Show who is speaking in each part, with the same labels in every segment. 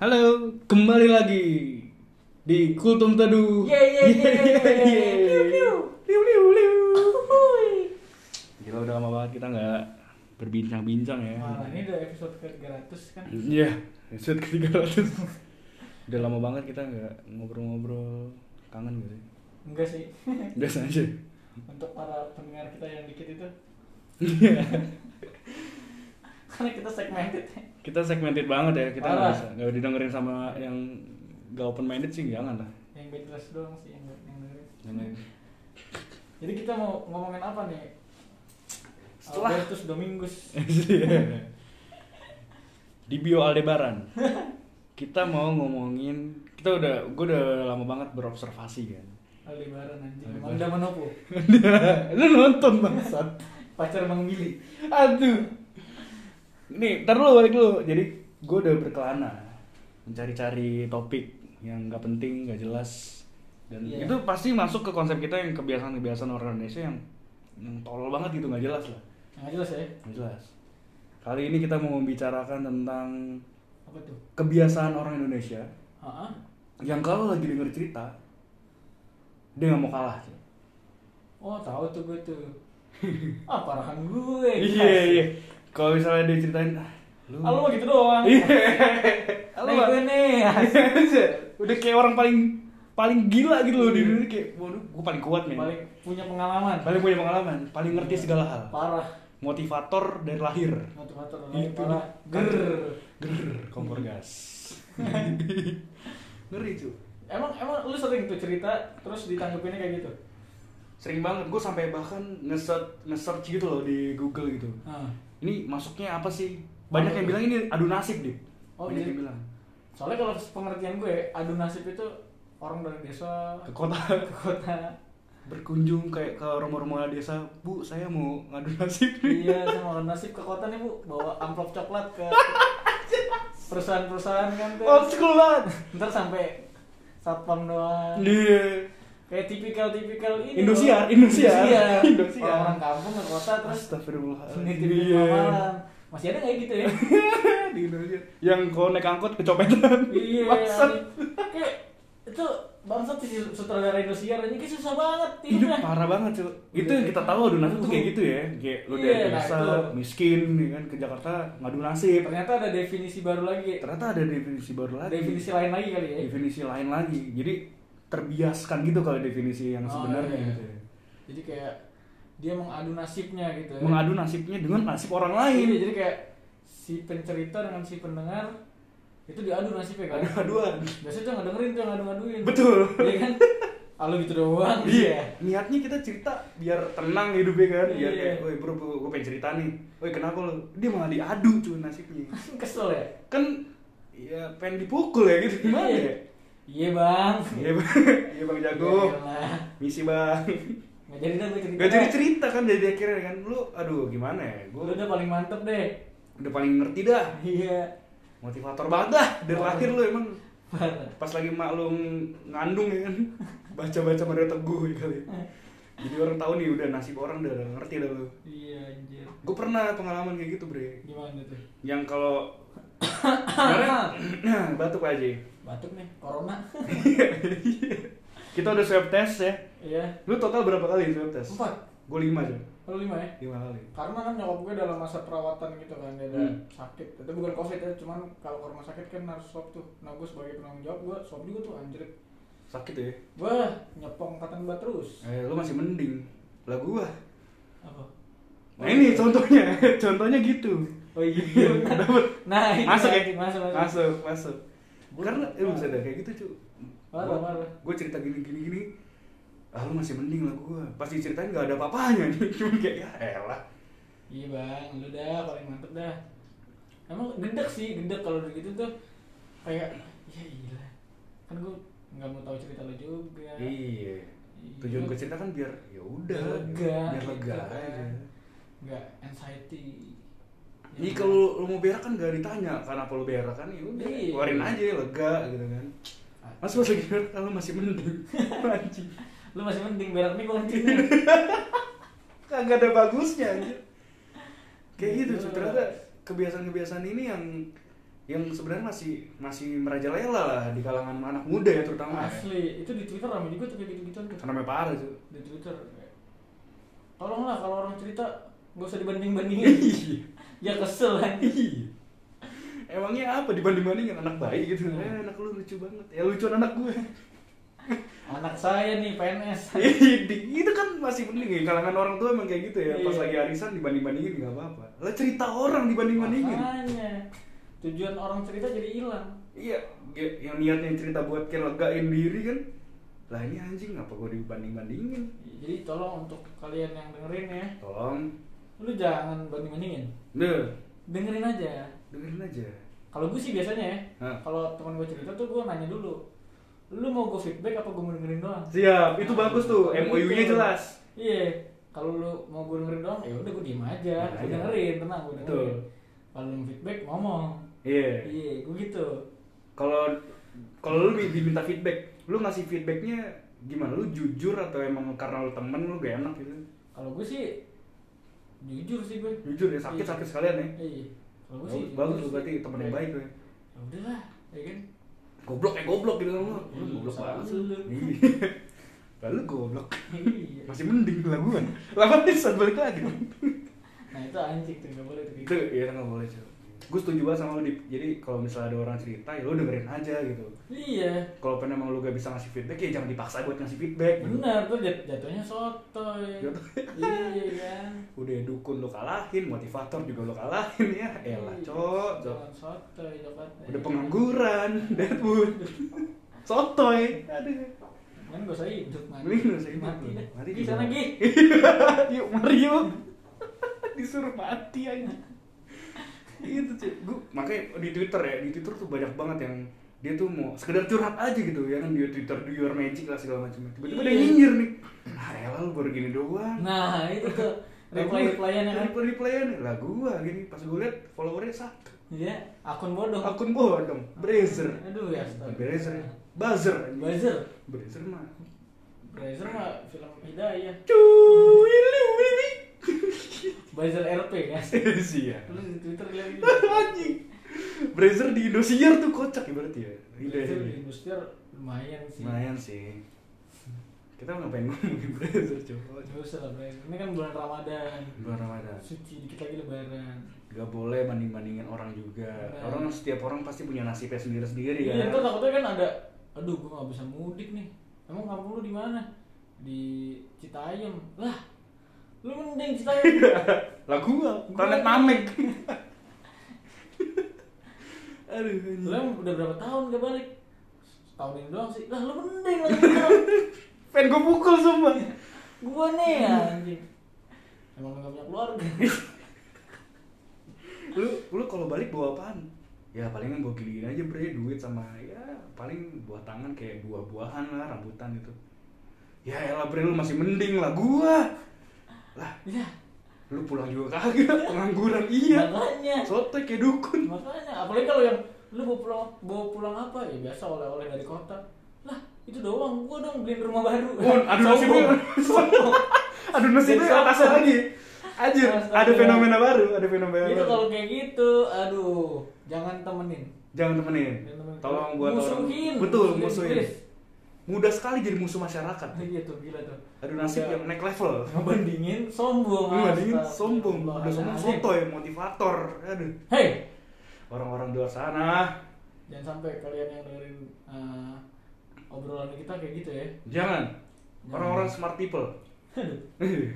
Speaker 1: Halo, kembali lagi di Kultum Teduh.
Speaker 2: Ye ye ye ye ye. Piu piu. Liu liu liu. Uhuy.
Speaker 1: Gila udah lama banget kita nggak berbincang-bincang ya.
Speaker 2: Wah, ini udah episode ke-300 kan.
Speaker 1: Iya, episode ke-300. udah lama banget kita nggak ngobrol-ngobrol. Kangen gitu.
Speaker 2: Enggak sih.
Speaker 1: Biasa aja.
Speaker 2: Untuk para pendengar kita yang dikit itu
Speaker 1: Iya.
Speaker 2: karena kita segmented.
Speaker 1: kita segmented banget ya. Kita nggak
Speaker 2: Parah.
Speaker 1: bisa nggak didengerin sama yang gak open minded sih jangan lah.
Speaker 2: Yang bedless doang sih yang yang dengerin.
Speaker 1: Jangan.
Speaker 2: Jadi kita mau ngomongin apa nih?
Speaker 1: Setelah-
Speaker 2: Albertus Domingus.
Speaker 1: di bio Aldebaran kita mau ngomongin kita udah gue udah lama banget berobservasi kan
Speaker 2: Aldebaran anjing.
Speaker 1: Aldebaran.
Speaker 2: Emang udah menopo.
Speaker 1: lu nonton bangsat
Speaker 2: Pacar Mang Billy.
Speaker 1: aduh nih ntar dulu balik dulu jadi gue udah berkelana mencari-cari topik yang nggak penting nggak jelas dan
Speaker 2: Iya.
Speaker 1: itu pasti masuk ke konsep kita yang kebiasaan-kebiasaan orang Indonesia yang yang tolol banget gitu nggak jelas lah
Speaker 2: Yang jelas ya.
Speaker 1: nggak jelas kali ini kita mau membicarakan tentang
Speaker 2: Apa tuh?
Speaker 1: kebiasaan orang Indonesia
Speaker 2: Heeh.
Speaker 1: yang kalau lagi denger cerita dia nggak mau kalah
Speaker 2: Oh, tahu tuh gue tuh. ah, parahan gue.
Speaker 1: iya iya kalau misalnya dia ceritain "Ah, lu
Speaker 2: Ah, lu mah gitu doang.
Speaker 1: Iya.
Speaker 2: Lu
Speaker 1: Lu-
Speaker 2: gue nih.
Speaker 1: iya. udah kayak orang paling paling gila gitu loh di dunia kayak waduh gue paling Iya. kuat nih
Speaker 2: Paling punya pengalaman.
Speaker 1: paling punya pengalaman paling ngerti segala hal
Speaker 2: Parah.
Speaker 1: motivator dari lahir
Speaker 2: Motivator
Speaker 1: Itu.
Speaker 2: parah.
Speaker 1: iya. Kan-
Speaker 2: Ger.
Speaker 1: ger kompor gas ngeri cuy
Speaker 2: Emang emang lu sering tuh cerita terus ditanggepinnya kayak gitu.
Speaker 1: sering banget gue sampai bahkan nge-search nge-search gitu loh di Google gitu
Speaker 2: Nah,
Speaker 1: ini masuknya apa sih banyak yang bilang ini adu nasib deh
Speaker 2: Oh,
Speaker 1: banyak
Speaker 2: jadi-
Speaker 1: yang bilang
Speaker 2: soalnya kalau pengertian gue, adu nasib itu orang dari desa
Speaker 1: ke kota
Speaker 2: ke kota.
Speaker 1: berkunjung kayak ke rumah-rumah desa bu saya mau ngadu nasib nih."
Speaker 2: iya, sama orang nasib ke kota nih, Bu. Bawa amplop coklat ke perusahaan-perusahaan kan tuh.
Speaker 1: old school banget
Speaker 2: Ntar sampai satpam doang.
Speaker 1: iya
Speaker 2: Kayak tipikal-tipikal ini.
Speaker 1: Indosiar,
Speaker 2: loh.
Speaker 1: Indosiar.
Speaker 2: Indosiar.
Speaker 1: Indosiar.
Speaker 2: Orang kampung ke kota terus
Speaker 1: astagfirullahaladzim
Speaker 2: nitipin
Speaker 1: Iya.
Speaker 2: malam. Masih ada kayak gitu ya?
Speaker 1: Di Indonesia. yang kalau naik angkot kecopetan
Speaker 2: iya.
Speaker 1: Bangsat.
Speaker 2: Kayak itu bangsat sih sutradara Indosiar ini kayak susah banget
Speaker 1: hidup
Speaker 2: hidupnya.
Speaker 1: parah banget cuy itu yang kita tahu adu nasib tuh kayak gitu ya Iya. kayak lu dari
Speaker 2: Iya, nah,
Speaker 1: desa
Speaker 2: itu.
Speaker 1: miskin ya kan ke Jakarta ngadu nasib
Speaker 2: Iya, Ternyata ada definisi baru lagi.
Speaker 1: ternyata ada definisi baru lagi
Speaker 2: Definisi lain lagi kali ya.
Speaker 1: iya. definisi lain lagi jadi terbiaskan gitu kalau definisi yang
Speaker 2: Oh,
Speaker 1: sebenarnya
Speaker 2: iya.
Speaker 1: gitu ya.
Speaker 2: Jadi kayak dia mengadu nasibnya gitu. ya.
Speaker 1: mengadu nasibnya dengan nasib orang lain
Speaker 2: Iya, jadi kayak si pencerita dengan si pendengar itu diadu nasibnya kan.
Speaker 1: adu-aduan
Speaker 2: Biasanya tuh ngedengerin tuh yang ngadu-ngaduin.
Speaker 1: Betul.
Speaker 2: Iya kan? Ah, lu gitu doang.
Speaker 1: Iya, niatnya kita cerita biar tenang hidupnya kan,
Speaker 2: Iya.
Speaker 1: biar kayak, woi bro, gue pengen cerita nih, woi kenapa lo? Dia malah diadu cuy nasibnya,
Speaker 2: Kesel ya?
Speaker 1: kan ya pengen dipukul ya gitu gimana ya?
Speaker 2: Iya bang.
Speaker 1: Iya bang, iya bang jago,
Speaker 2: Iyalah.
Speaker 1: misi bang.
Speaker 2: Nggak jadi dah gue cerita.
Speaker 1: Gak jadi cerita kan dari akhirnya kan, lu aduh gimana ya,
Speaker 2: Lu
Speaker 1: gue
Speaker 2: udah paling mantep deh.
Speaker 1: udah paling ngerti dah,
Speaker 2: Iya.
Speaker 1: motivator banget dah
Speaker 2: Oh,
Speaker 1: dari lahir lu emang
Speaker 2: Parah.
Speaker 1: pas lagi mak lu ngandung ya kan baca-baca Mario Teguh ya kali jadi orang tahu nih udah nasib orang udah ngerti dah lu
Speaker 2: Iya anjir.
Speaker 1: gue pernah pengalaman kayak gitu bre
Speaker 2: Gimana tuh?
Speaker 1: yang kalau Sebenarnya- batuk aja
Speaker 2: Batuk nih, corona.
Speaker 1: kita udah swab test ya
Speaker 2: Iya.
Speaker 1: lu total berapa kali swab test
Speaker 2: Empat.
Speaker 1: gue lima aja
Speaker 2: Lu lima ya?
Speaker 1: lima kali
Speaker 2: Karena kan nyokap gue dalam masa perawatan gitu kan dia ada
Speaker 1: Hmm.
Speaker 2: sakit. Itu bukan covid ya, cuman kalau ke rumah sakit kan harus swab tuh. Nah gue sebagai penanggung jawab gue swab juga tuh anjir.
Speaker 1: sakit ya
Speaker 2: Gue nyepong angkatan gue terus.
Speaker 1: eh, lu masih mending lah gua
Speaker 2: Apa?
Speaker 1: nah
Speaker 2: iya.
Speaker 1: ini contohnya contohnya gitu
Speaker 2: Oh iya.
Speaker 1: Dapet.
Speaker 2: Nah, ini
Speaker 1: masuk ya
Speaker 2: anjing, masuk, masuk.
Speaker 1: masuk masuk
Speaker 2: Gua-
Speaker 1: karena eh, lu bisa dah kayak gitu cuy
Speaker 2: Parah, parah.
Speaker 1: gue cerita gini gini gini ah lu masih mending lah gua pasti ceritain gak ada apa-apanya nih cuma kayak ya elah
Speaker 2: Iya bang, lu dah paling mantep dah. Emang gendek sih, gendek kalau udah gitu tuh kayak ya iya kan gue nggak mau tahu cerita lu juga.
Speaker 1: Iya. Tujuan gue cerita kan biar ya udah,
Speaker 2: Biar lega,
Speaker 1: biar
Speaker 2: gitu
Speaker 1: lega
Speaker 2: kan.
Speaker 1: aja.
Speaker 2: Nggak anxiety. Iya.
Speaker 1: Ini kalau lu mau berak kan gak ditanya kenapa lu berak kan ya udah
Speaker 2: Iya.
Speaker 1: keluarin aja lega gitu kan. Mas pas lagi berak kalau masih mending. Anjing.
Speaker 2: lu masih mending berak nih bukan
Speaker 1: Iya. Kagak ada bagusnya anjir. Kayak gitu,
Speaker 2: Iya.
Speaker 1: cuy. ternyata kebiasaan-kebiasaan ini yang yang sebenarnya masih masih merajalela lah di kalangan anak muda ya terutama ya.
Speaker 2: asli itu di Twitter ramai juga tuh kayak gitu-gituan tuh.
Speaker 1: karena memang parah tuh
Speaker 2: di Twitter kayak, tolonglah kalau orang cerita gak usah
Speaker 1: Iya.
Speaker 2: dibanding-bandingin ya kesel lagi
Speaker 1: emangnya apa dibanding bandingin anak bayi gitu
Speaker 2: Hmm.
Speaker 1: eh, anak lu lucu banget ya lucuan anak gue
Speaker 2: anak saya nih PNS
Speaker 1: itu kan masih mending ya kalangan orang tua emang kayak gitu ya pas
Speaker 2: Iya.
Speaker 1: lagi arisan dibanding bandingin nggak apa apa lah cerita orang dibanding bandingin
Speaker 2: makanya tujuan orang cerita jadi hilang
Speaker 1: iya ge- yang niatnya cerita buat kayak legain diri kan lah ini anjing apa gue dibanding bandingin
Speaker 2: jadi tolong untuk kalian yang dengerin ya
Speaker 1: tolong
Speaker 2: lu jangan banding-bandingin
Speaker 1: deh
Speaker 2: dengerin aja
Speaker 1: dengerin aja
Speaker 2: kalau gue sih biasanya ya
Speaker 1: Hah.
Speaker 2: kalau teman gue cerita tuh gue nanya dulu lu mau gue feedback apa gue mau dengerin doang
Speaker 1: siap itu bagus tuh
Speaker 2: Kalau
Speaker 1: MOU nya
Speaker 2: gitu.
Speaker 1: jelas
Speaker 2: iya kalau lu mau gue dengerin doang ya udah gue diem aja
Speaker 1: Nah,
Speaker 2: gue
Speaker 1: iya.
Speaker 2: dengerin tenang gue
Speaker 1: Betul.
Speaker 2: dengerin kalau lu mau feedback ngomong
Speaker 1: iya
Speaker 2: iya gue gitu
Speaker 1: kalau kalau lu di- diminta feedback lu ngasih feedbacknya gimana lu jujur atau emang karena lu temen lu gak enak gitu
Speaker 2: kalau gue sih jujur sih gue
Speaker 1: jujur ya sakit sakit sekalian ya
Speaker 2: iya kalau gue
Speaker 1: Bagus-
Speaker 2: sih
Speaker 1: bagus
Speaker 2: jujur
Speaker 1: tuh,
Speaker 2: sih.
Speaker 1: berarti teman yang baik lu ya.
Speaker 2: ya udahlah ya kan
Speaker 1: goblok ya goblok gitu kan lu
Speaker 2: Iya,
Speaker 1: Lu goblok
Speaker 2: salah
Speaker 1: banget
Speaker 2: lu.
Speaker 1: Iya. lalu goblok
Speaker 2: iya
Speaker 1: masih mending lah gue lawan bisa balik lagi
Speaker 2: nah itu anjing tuh nggak boleh tuh kayak gitu.
Speaker 1: itu ya nggak boleh cuy gue setuju banget sama lu Dip. jadi kalau misalnya ada orang cerita ya lu dengerin aja gitu
Speaker 2: gitu. iya
Speaker 1: kalau pengen emang lu gak bisa ngasih feedback ya jangan dipaksa buat ngasih feedback gitu.
Speaker 2: benar tuh jat- jatuhnya sotoy
Speaker 1: Jatuh-
Speaker 2: iya kan
Speaker 1: udah dukun lu kalahin motivator juga lu kalahin ya elah cok cok
Speaker 2: Jangan Iya, sotoy Jakarta.
Speaker 1: udah pengangguran Deadwood sotoy aduh
Speaker 2: Mending Kan gak usah hidup mati.
Speaker 1: Mending gak usah hidup,
Speaker 2: Mati
Speaker 1: lu.
Speaker 2: dah.
Speaker 1: Mati
Speaker 2: Di sana
Speaker 1: juga.
Speaker 2: Gi.
Speaker 1: yuk mari yuk disuruh mati aja itu cuy Gitu, gua makanya di twitter ya di twitter tuh banyak banget yang dia tuh mau sekedar curhat aja gitu ya kan di twitter do your magic lah segala macam tiba-tiba dia
Speaker 2: Iya.
Speaker 1: nyinyir nih ah elah lu baru gini doang Nah,
Speaker 2: Nah, itu tuh reply-replyan ya kan.
Speaker 1: reply replyan lah gua gini pas gua liat followernya satu
Speaker 2: Iya, akun bodoh.
Speaker 1: akun gua dong brazer
Speaker 2: Aduh ya, astaga.
Speaker 1: brazer ya. buzzer anjing.
Speaker 2: Buzzer.
Speaker 1: brazer mah
Speaker 2: Buzzer mah film Hidayah.
Speaker 1: cuy lu ini
Speaker 2: Buzzer RP kan.
Speaker 1: sih
Speaker 2: Terus di Twitter lihat gitu.
Speaker 1: anjing Brazer di Indosiar tuh kocak ya berarti ya Udah,
Speaker 2: Buzzer di
Speaker 1: ya.
Speaker 2: industri lumayan sih.
Speaker 1: lumayan sih kita ngapain ngomongin Brazer coba
Speaker 2: Gak usah lah, Buzzer. Ini kan bulan Ramadan.
Speaker 1: bulan Ramadan
Speaker 2: Suci dikit lagi lebaran.
Speaker 1: gak boleh banding bandingin orang juga
Speaker 2: Benar.
Speaker 1: orang setiap orang pasti punya nasibnya sendiri sendiri
Speaker 2: Iya,
Speaker 1: kan
Speaker 2: ntar takutnya kan ada aduh gue nggak bisa mudik nih. Emang kampung lu di mana? Di Citayam. Lah. Lu mending Citayam.
Speaker 1: lah gua
Speaker 2: Gua-
Speaker 1: planet Namek aduh anjing.
Speaker 2: lu emang udah berapa tahun gak balik? Tahun ini doang sih. Lah lu mending lah. Citayam.
Speaker 1: pengen gua pukul sumpah
Speaker 2: gua nih
Speaker 1: Iya.
Speaker 2: ya anjing. Emang lu gak punya keluarga.
Speaker 1: lu lu kalau balik bawa apaan ya palingan bawa gini aja bre duit sama ya paling buah tangan kayak buah buahan lah rambutan gitu ya elah bre lu masih mending lah gua lah
Speaker 2: Iya.
Speaker 1: lu pulang juga kagak pengangguran iya
Speaker 2: Makanya.
Speaker 1: sotoy kayak dukun
Speaker 2: Makanya apalagi kalau yang lu bawa pulang bawa pulang apa? Ya biasa oleh-oleh dari kota. Lah, itu doang gua dong beliin rumah baru.
Speaker 1: Won, Oh, aduh nasibnya
Speaker 2: Sombong.
Speaker 1: aduh nasibnya atas lagi Anjir, ada fenomena baru, ada fenomena
Speaker 2: itu
Speaker 1: baru.
Speaker 2: kalau kayak gitu aduh jangan temenin
Speaker 1: Jangan temenin.
Speaker 2: Jangan temenin.
Speaker 1: Tolong buat orang.
Speaker 2: Musuhin.
Speaker 1: Betul,
Speaker 2: Musuhin,
Speaker 1: musuhin.
Speaker 2: please.
Speaker 1: Mudah sekali jadi musuh masyarakat.
Speaker 2: iya tuh gila tuh
Speaker 1: Aduh nasib
Speaker 2: Udah.
Speaker 1: yang naik level.
Speaker 2: ngebandingin sombong
Speaker 1: Lu bandingin
Speaker 2: astagfirullah.
Speaker 1: sombong, udah sombong ya.
Speaker 2: Aneh.
Speaker 1: sotoy, motivator. Aduh,
Speaker 2: hei
Speaker 1: orang-orang di luar sana.
Speaker 2: jangan sampai kalian yang dengerin eh, obrolan kita kayak gitu ya
Speaker 1: Jangan. Orang-orang smart people.
Speaker 2: aduh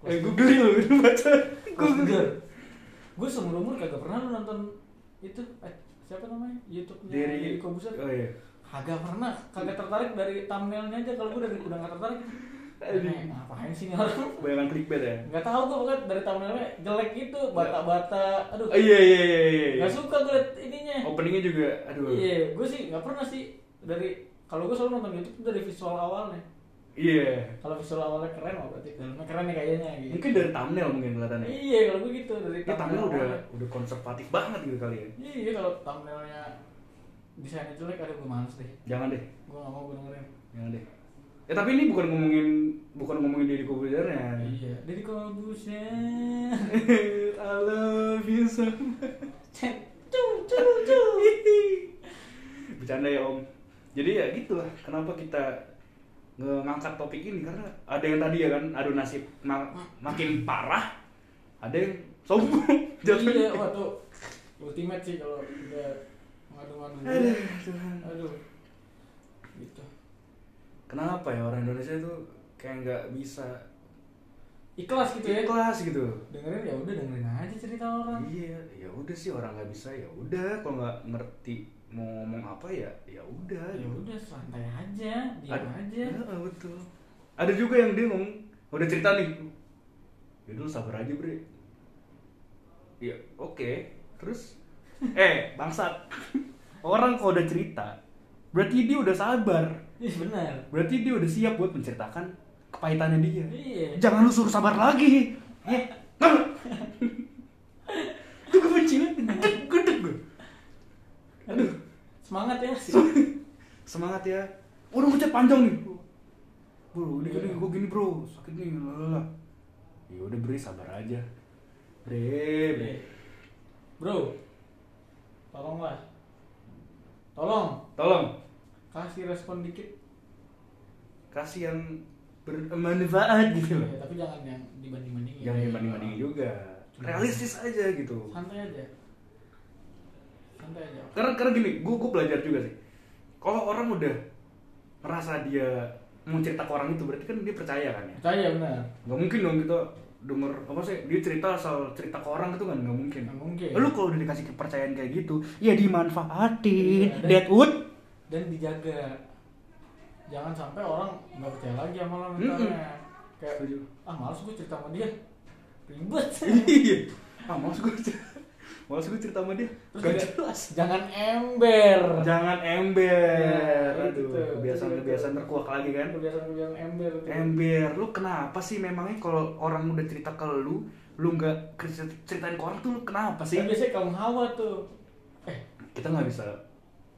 Speaker 1: eh, gue geli lu lu baca. Gue geli.
Speaker 2: gue seumur umur kagak pernah lu nonton itu eh, siapa namanya YouTube nya
Speaker 1: Dari
Speaker 2: Kobuser
Speaker 1: Oh iya.
Speaker 2: kagak pernah kagak tertarik dari thumbnailnya aja kalau gue dari udah nggak tertarik
Speaker 1: Aduh.
Speaker 2: Aneh, ngapain sih nih orang
Speaker 1: Bayangan clickbait ya.
Speaker 2: Gak tau gue pokoknya dari thumbnailnya jelek gitu, bata-bata, aduh.
Speaker 1: Iya. Oh, iya iya iya iya, iya.
Speaker 2: Gak suka gue liat ininya.
Speaker 1: Openingnya juga aduh.
Speaker 2: Iya, gue sih gak pernah sih dari kalau gue selalu nonton YouTube tuh dari visual awalnya.
Speaker 1: Iya.
Speaker 2: Kalau visual awalnya keren, oh berarti dalamnya keren nih kayaknya gitu.
Speaker 1: Mungkin dari thumbnail mungkin kelihatannya.
Speaker 2: Iya, kalau gue gitu dari
Speaker 1: Ya, thumbnail udah
Speaker 2: awalnya.
Speaker 1: udah konservatif banget gitu kali ya.
Speaker 2: Iya, kalau thumbnailnya desainnya jelek, aduh gue males deh.
Speaker 1: Jangan deh.
Speaker 2: Gue gak mau gue dengerin.
Speaker 1: Jangan deh. Ya tapi ini bukan ngomongin bukan ngomongin diri kubuzernya.
Speaker 2: Iya, dari Corbusier.
Speaker 1: I love you so much.
Speaker 2: Cek, cung, Gitu. cung, cung.
Speaker 1: bercanda ya om jadi ya gitulah kenapa kita nge- ngangkat topik ini karena ada yang tadi ya kan adu nasib ma- makin parah ada yang sombong
Speaker 2: iya
Speaker 1: jatuhnya
Speaker 2: wah tuh ultimate sih kalau udah ngadu-ngadu
Speaker 1: Aduh, Tuhan.
Speaker 2: aduh gitu
Speaker 1: kenapa ya orang Indonesia itu kayak nggak bisa
Speaker 2: ikhlas gitu ya
Speaker 1: ikhlas gitu
Speaker 2: dengerin ya udah dengerin aja cerita orang
Speaker 1: iya ya udah sih orang nggak bisa ya udah kalau nggak ngerti mau ngomong apa ya ya udah
Speaker 2: ya
Speaker 1: gitu.
Speaker 2: udah santai aja diam
Speaker 1: Ad-
Speaker 2: aja
Speaker 1: Heeh, betul. Ada juga yang dia ngomong, udah cerita nih. Ya dulu sabar aja, Bre. Ya, oke. Terus eh, bangsat. Orang kalau udah cerita, berarti dia udah sabar.
Speaker 2: iya benar
Speaker 1: Berarti dia udah siap buat menceritakan kepahitannya dia.
Speaker 2: Iya.
Speaker 1: Jangan lu suruh sabar lagi. Ya. Itu gue benci banget. Gedek, gedek gue.
Speaker 2: aduh semangat ya sih
Speaker 1: semangat ya udah ngechat panjang nih bro ini gini gue gini bro sakit nih lalala ya udah bre sabar aja bre bre
Speaker 2: bro tolonglah tolong
Speaker 1: tolong
Speaker 2: kasih respon dikit
Speaker 1: kasih yang bermanfaat gitu loh
Speaker 2: ya, tapi jangan yang dibanding bandingin
Speaker 1: jangan dibanding bandingin juga realistis aja gitu
Speaker 2: santai aja santai aja
Speaker 1: karena karena gini gue gue belajar juga sih kalau orang udah merasa dia mau cerita ke orang itu berarti kan dia percaya kan ya
Speaker 2: percaya benar
Speaker 1: nggak mungkin dong kita denger apa sih dia cerita asal cerita ke orang itu kan nggak mungkin
Speaker 2: Nggak mungkin.
Speaker 1: lu kalau udah dikasih kepercayaan kayak gitu ya dimanfaatin
Speaker 2: Iya, dan-
Speaker 1: Deadwood
Speaker 2: dan dijaga jangan sampai orang nggak percaya lagi sama lo
Speaker 1: Mm-mm.
Speaker 2: mentalnya kayak
Speaker 1: Setuju.
Speaker 2: ah males gue cerita sama dia ribet
Speaker 1: iya ah males gue cerita males gue cerita sama dia
Speaker 2: Terus
Speaker 1: gak
Speaker 2: juga,
Speaker 1: jelas
Speaker 2: jangan ember
Speaker 1: jangan ember
Speaker 2: Nah, itu
Speaker 1: aduh
Speaker 2: tuh,
Speaker 1: kebiasaan
Speaker 2: itu tuh.
Speaker 1: kebiasaan terkuak lagi kan
Speaker 2: kebiasaan kebiasaan ember tuh.
Speaker 1: ember lu kenapa sih memangnya kalau orang udah cerita ke lu lu nggak cerita- ceritain ke orang tuh lu kenapa sih
Speaker 2: Kan biasanya kaum hawa tuh eh
Speaker 1: kita nggak bisa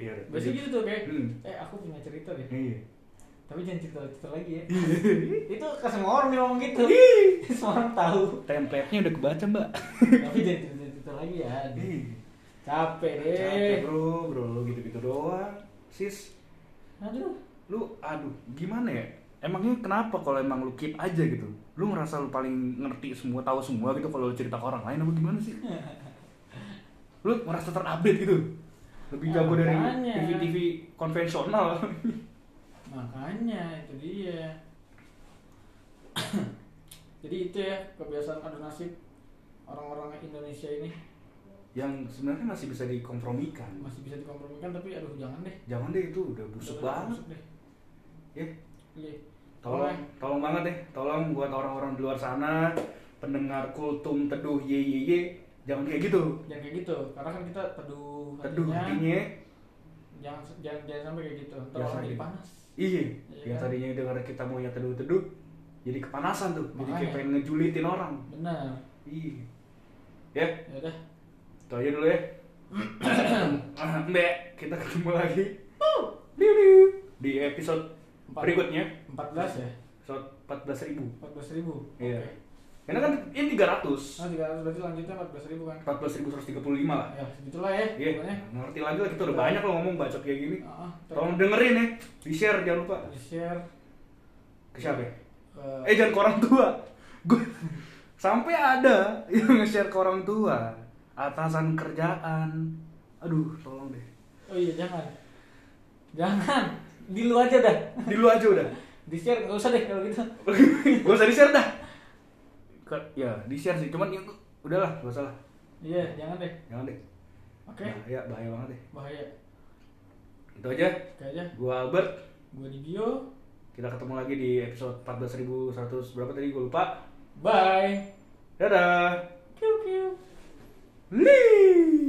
Speaker 1: iya
Speaker 2: biasanya gitu tuh kayak
Speaker 1: Hmm.
Speaker 2: eh aku punya cerita deh
Speaker 1: iya
Speaker 2: tapi jangan cerita cerita lagi ya itu ke semua orang dia ngomong gitu semua orang tahu
Speaker 1: template-nya udah kebaca mbak
Speaker 2: tapi jangan cerita cerita lagi ya capek deh
Speaker 1: Iya. capek bro bro lu gitu-gitu doang sis
Speaker 2: aduh
Speaker 1: lu aduh gimana ya emangnya kenapa kalau emang lu keep aja gitu lu ngerasa lu paling ngerti semua tahu semua gitu kalau lu cerita ke orang lain apa gimana sih lu merasa terupdate gitu lebih
Speaker 2: Ya,
Speaker 1: jago dari
Speaker 2: makanya.
Speaker 1: TV TV konvensional
Speaker 2: Makanya itu dia. Jadi itu ya kebiasaan adu nasib orang-orang Indonesia ini
Speaker 1: yang sebenarnya masih bisa dikompromikan
Speaker 2: masih bisa dikompromikan tapi aduh jangan deh.
Speaker 1: jangan deh itu udah busuk
Speaker 2: Jangan
Speaker 1: banget
Speaker 2: busuk deh.
Speaker 1: ya
Speaker 2: Iya.
Speaker 1: tolong
Speaker 2: Tolong.
Speaker 1: tolong banget deh tolong buat orang-orang di luar sana pendengar kultum teduh ye ye ye jangan kayak gitu
Speaker 2: Jangan kayak gitu karena kan kita teduh
Speaker 1: teduh
Speaker 2: hatinya.
Speaker 1: hatinya
Speaker 2: Jangan jangan jangan sampai kayak gitu.
Speaker 1: Jangan
Speaker 2: Terlalu
Speaker 1: sampai
Speaker 2: jadi
Speaker 1: gitu.
Speaker 2: panas.
Speaker 1: iya
Speaker 2: Iya
Speaker 1: yang
Speaker 2: kan?
Speaker 1: tadinya dengar kita mau ya teduh teduh jadi kepanasan tuh jadi kayak
Speaker 2: Makanya.
Speaker 1: pengen ngejulitin orang
Speaker 2: Benar.
Speaker 1: iya ya
Speaker 2: Ya udah.
Speaker 1: itu aja dulu ya Mbak, kita ketemu lagi Diu-diu. di episode
Speaker 2: Empat.
Speaker 1: berikutnya
Speaker 2: 14 ya.
Speaker 1: episode 14.000 ribu
Speaker 2: 14 ribu.
Speaker 1: iya karena kan ini 300
Speaker 2: Nah, 300 berarti lanjutnya 14 ribu kan.
Speaker 1: 14.135 lah
Speaker 2: Ya, segitulah ya.
Speaker 1: Iya,
Speaker 2: pokoknya.
Speaker 1: ngerti lagi lah kita udah banyak lo ngomong bacot kayak gini.
Speaker 2: Ah,
Speaker 1: Tolong dengerin ya, di share jangan lupa.
Speaker 2: share
Speaker 1: Ke siapa? ya?
Speaker 2: ke
Speaker 1: Eh jangan ke orang tua. Gue sampai ada yang nge-share ke orang tua, atasan kerjaan. Aduh, tolong deh.
Speaker 2: Oh iya jangan, jangan di lu aja dah,
Speaker 1: Di lu aja udah.
Speaker 2: di share nggak usah deh kalau gitu.
Speaker 1: gak usah di share dah. Ke- Ya, di share sih, cuman ya, udahlah, gak usah lah.
Speaker 2: Iya jangan deh,
Speaker 1: Jangan deh.
Speaker 2: oke
Speaker 1: Bahaya, bahaya banget deh.
Speaker 2: bahaya.
Speaker 1: Itu aja.
Speaker 2: Oke aja,
Speaker 1: Gua Albert.
Speaker 2: gue di bio,
Speaker 1: Kita ketemu lagi di episode 14.100 berapa tadi gue lupa.
Speaker 2: bye.
Speaker 1: Dadah.
Speaker 2: Kiu kiu.
Speaker 1: Lee.